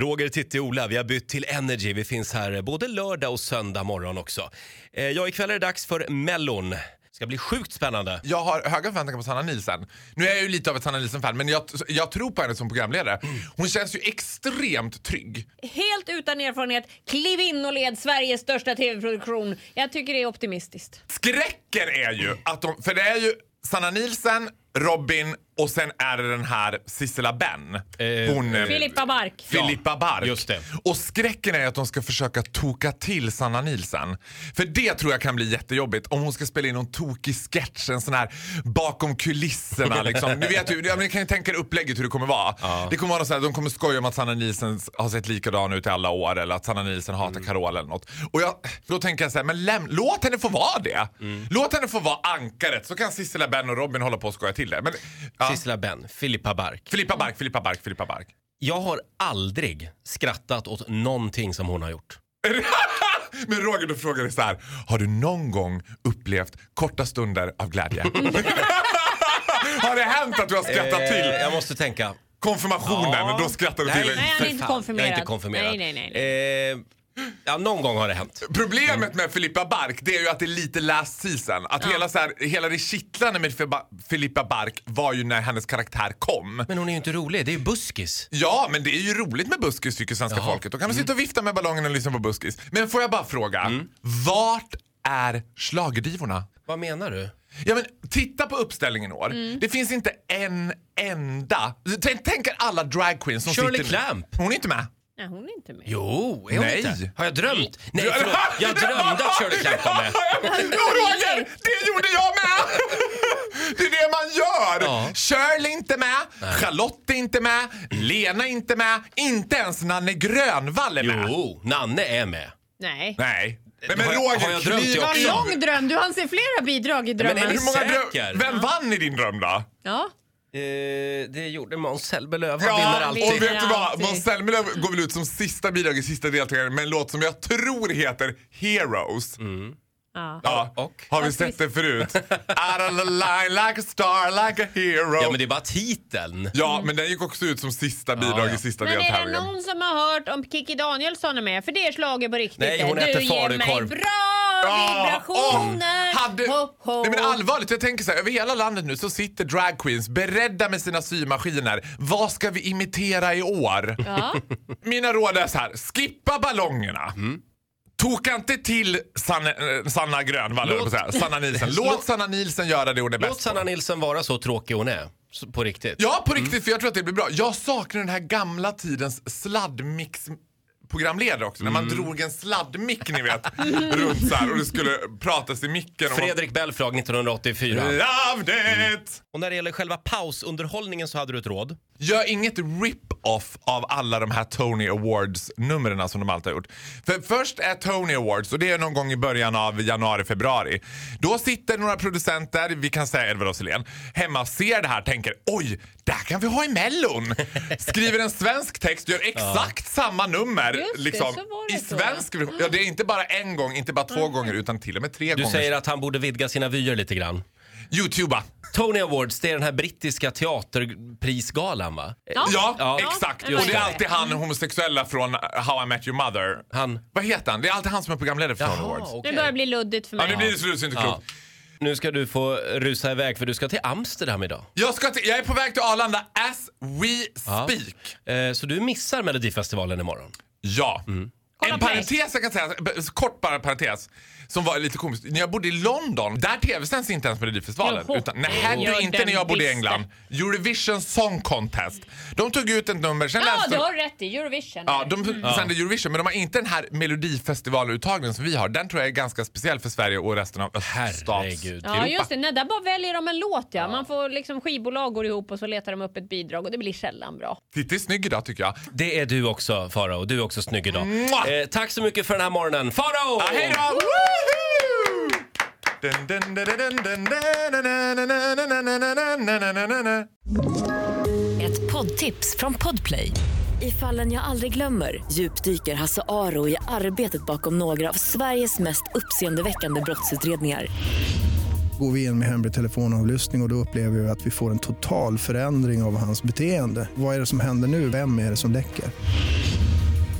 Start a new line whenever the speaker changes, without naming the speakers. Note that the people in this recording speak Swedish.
Roger, Titti, Ola, vi har bytt till Energy. Vi finns här både lördag och söndag morgon också. Eh, ja, ikväll är det dags för Mellon. Det ska bli sjukt spännande.
Jag har höga förväntningar på Sanna Nielsen. Nu är jag ju lite av ett Sanna Nielsen-fan, men jag, jag tror på henne som programledare. Hon känns ju extremt trygg.
Helt utan erfarenhet, kliv in och led Sveriges största tv-produktion. Jag tycker det är optimistiskt.
Skräcken är ju att de... För det är ju Sanna Nielsen, Robin och sen är det den här Sissela Benn. Hon... eh,
Filippa Bark.
Filippa Bark.
just det.
Och skräcken är att de ska försöka toka till Sanna Nielsen. För det tror jag kan bli jättejobbigt om hon ska spela in någon tokig sketch, en sån här bakom kulisserna liksom. Ni vet ju, ja, men ni kan ju tänka er upplägget hur det kommer vara. Det kommer vara något så här, de kommer skoja om att Sanna Nielsen har sett likadan ut i alla år eller att Sanna Nielsen hatar
Mm.
Carola eller något. Och jag, då tänker jag så här, men läm, låt henne få vara det.
Mm.
Låt henne få vara ankaret så kan Sissela Benn och Robin hålla på och skoja till det. Men, ja.
Sissela Benn, Filippa Bark.
Filippa Bark, Filippa Bark, Filippa Bark.
Jag har aldrig skrattat åt någonting som hon har gjort.
Men Roger, då frågar jag så här. Har du någon gång upplevt korta stunder av glädje? har det hänt att du har skrattat
Eh,
till
Jag måste tänka.
konfirmationen?
Ja.
Då skrattar du till.
Nej, han är
för
inte
fan. Jag är inte
konfirmerad.
konfirmerad.
Nej, nej,
Eh, ja, någon gång har det hänt.
Problemet med Filippa Bark det är ju att det är lite last season. Att hela, så här, hela det kittlande med Fiba- Filippa Bark var ju när hennes karaktär kom.
Men hon är ju inte rolig, det är ju buskis.
Ja, men det är ju roligt med buskis tycker svenska folket. Då kan man sitta och vifta med ballongen och lyssna på buskis. Men får jag bara fråga, vart är schlagerdivorna?
Vad menar du?
Ja men titta på uppställningen i år. Det finns inte en enda. Tänk, tänk er alla drag queens som
Shirley
sitter...
Clamp.
Hon är inte med.
Nej, hon är inte med.
Jo, är hon
Nej.
inte? Har jag drömt? Nej, förlåt. Jag drömde att Shirley Clamp var med.
Jo Roger, det gjorde jag med! Det är det man gör!
Ja.
Shirley är inte med, Charlotte är inte med, Lena är inte med, inte ens Nanne Grönvall är med.
Jo, Nanne är med.
Nej.
Nej. Men, men
Har jag-
Roger,
har jag drömt det
kliv
också?
En
in.
lång dröm. Du hann se flera bidrag i drömmen.
är
Hur många
Säker?
dröm... Vem vann i din dröm då?
Ja.
Eh, det gjorde Måns Zelmerlöw. Han vinner
Ja,
alltid.
och vet du vad?
Alltid.
Måns Zelmerlöw går väl ut som sista bidrag i sista deltagaren med en låt som jag tror heter Heroes.
ja.
Ja.
Mm. Och?
Har vi sett det förut? Out of the line like a star, like a hero.
Ja, men det är bara titeln.
den gick också ut som sista bidrag
ja.
i sista
Men är det
deltävlingen.
någon som har hört om Kikki Danielsson är med? För det är slaget på riktigt.
Nej, hon
du
äter
ger
falukorv.
mig bra
Ja, om
vibrationer.
hade,
Ho, ho.
nej men allvarligt, jag tänker så här, över hela landet nu så sitter drag queens beredda med sina symaskiner. Vad ska vi imitera i år?
Ja.
Mina råd är så här, skippa ballongerna. Toka inte till Sanne, eh, Sanna Grönvall, höll jag på att säga. Sanna Nielsen. Låt
Låt-
Sanna Nielsen göra det hon är
Låt
bäst
Sanna
på.
Nilsson vara så tråkig hon är. Så- På riktigt.
Ja, på riktigt, för jag tror att det blir bra. Jag saknar den här gamla tidens sladdmix programledare också. När man drog en sladdmick, ni vet, runt så här och det skulle pratas i micken. och man-
Fredrik Belfrage 1984.
Loved it!
Och när det gäller själva pausunderhållningen så hade du ett råd.
Gör inget rip-off av alla de här Tony Awards-numren som de alltid har gjort. För först är Tony Awards och det är någon gång i början av januari, februari. Då sitter några producenter, vi kan säga Edward af Sillén, hemma och ser det här tänker oj, där kan vi ha i Mellon. Skriver en svensk text, gör exakt samma nummer
Just det,
liksom,
så var
i
det så,
svensk version. Ja, det är inte bara en gång, inte bara två gånger utan till och med tre
Du
gånger.
säger att han borde vidga sina vyer lite grann.
Youtuba.
Tony Awards, det är den här brittiska teaterprisgalan va?
Ja.
Ja,
Ja,
exakt.
just
och det är
det.
alltid han homosexuella från How I Met Your Mother.
Han-
Vad heter han? Det är alltid han som är programledare för Tony Awards.
okej.
Nu börjar det bli luddigt för
Ja,
mig.
nu blir det slut så inte
Ja.
klokt.
Nu ska du få rusa iväg för du ska till Amsterdam idag.
Jag, ska till, jag är på väg till Arlanda as we
Ja.
speak.
Eh, Så du missar Melodifestivalen imorgon.
Ja.
Mm.
Kolla
En
på
parentes jag kan säga, b- kort bara parentes, som var lite komisk. När jag bodde i London, där tv-sänds inte ens Melodifestivalen.
Jaha.
Utan, nej,
Gör
det inte
den
när jag bodde i
visst.
England. Eurovision Song Contest. De tog ut ett nummer, sen
Ja,
läste
du
de-
har rätt i Eurovision.
Ja, de sänder Eurovision, men de har inte den här melodifestivaluttagningen som vi har. Den tror jag är ganska speciell för Sverige och resten av
Herregud.
öststatseuropa.
Ja, just det. Nej, där bara väljer de en låt ja. Man får liksom skivbolag går ihop och så letar de upp ett bidrag och det blir sällan bra.
Titti är snygg idag tycker jag.
Det är du också Farao, du är också snygg idag.
Mwah!
Eh, tack så mycket för den här morgonen. Farao!
Ah, hej då! Woohoo! Dun, dun, dun, dun, dun, dun, dun, dun, dun, dun, dun, dun, dun, dun, dun, dun.
Ett poddtips från Podplay. I fallen jag aldrig glömmer djupdyker Hasse Aro i arbetet bakom några av Sveriges mest uppseendeväckande brottsutredningar.
Går vi in med hemlig telefonavlyssning och, och då upplever vi att vi får en total förändring av hans beteende. Vad är det som händer nu? Vem är det som läcker?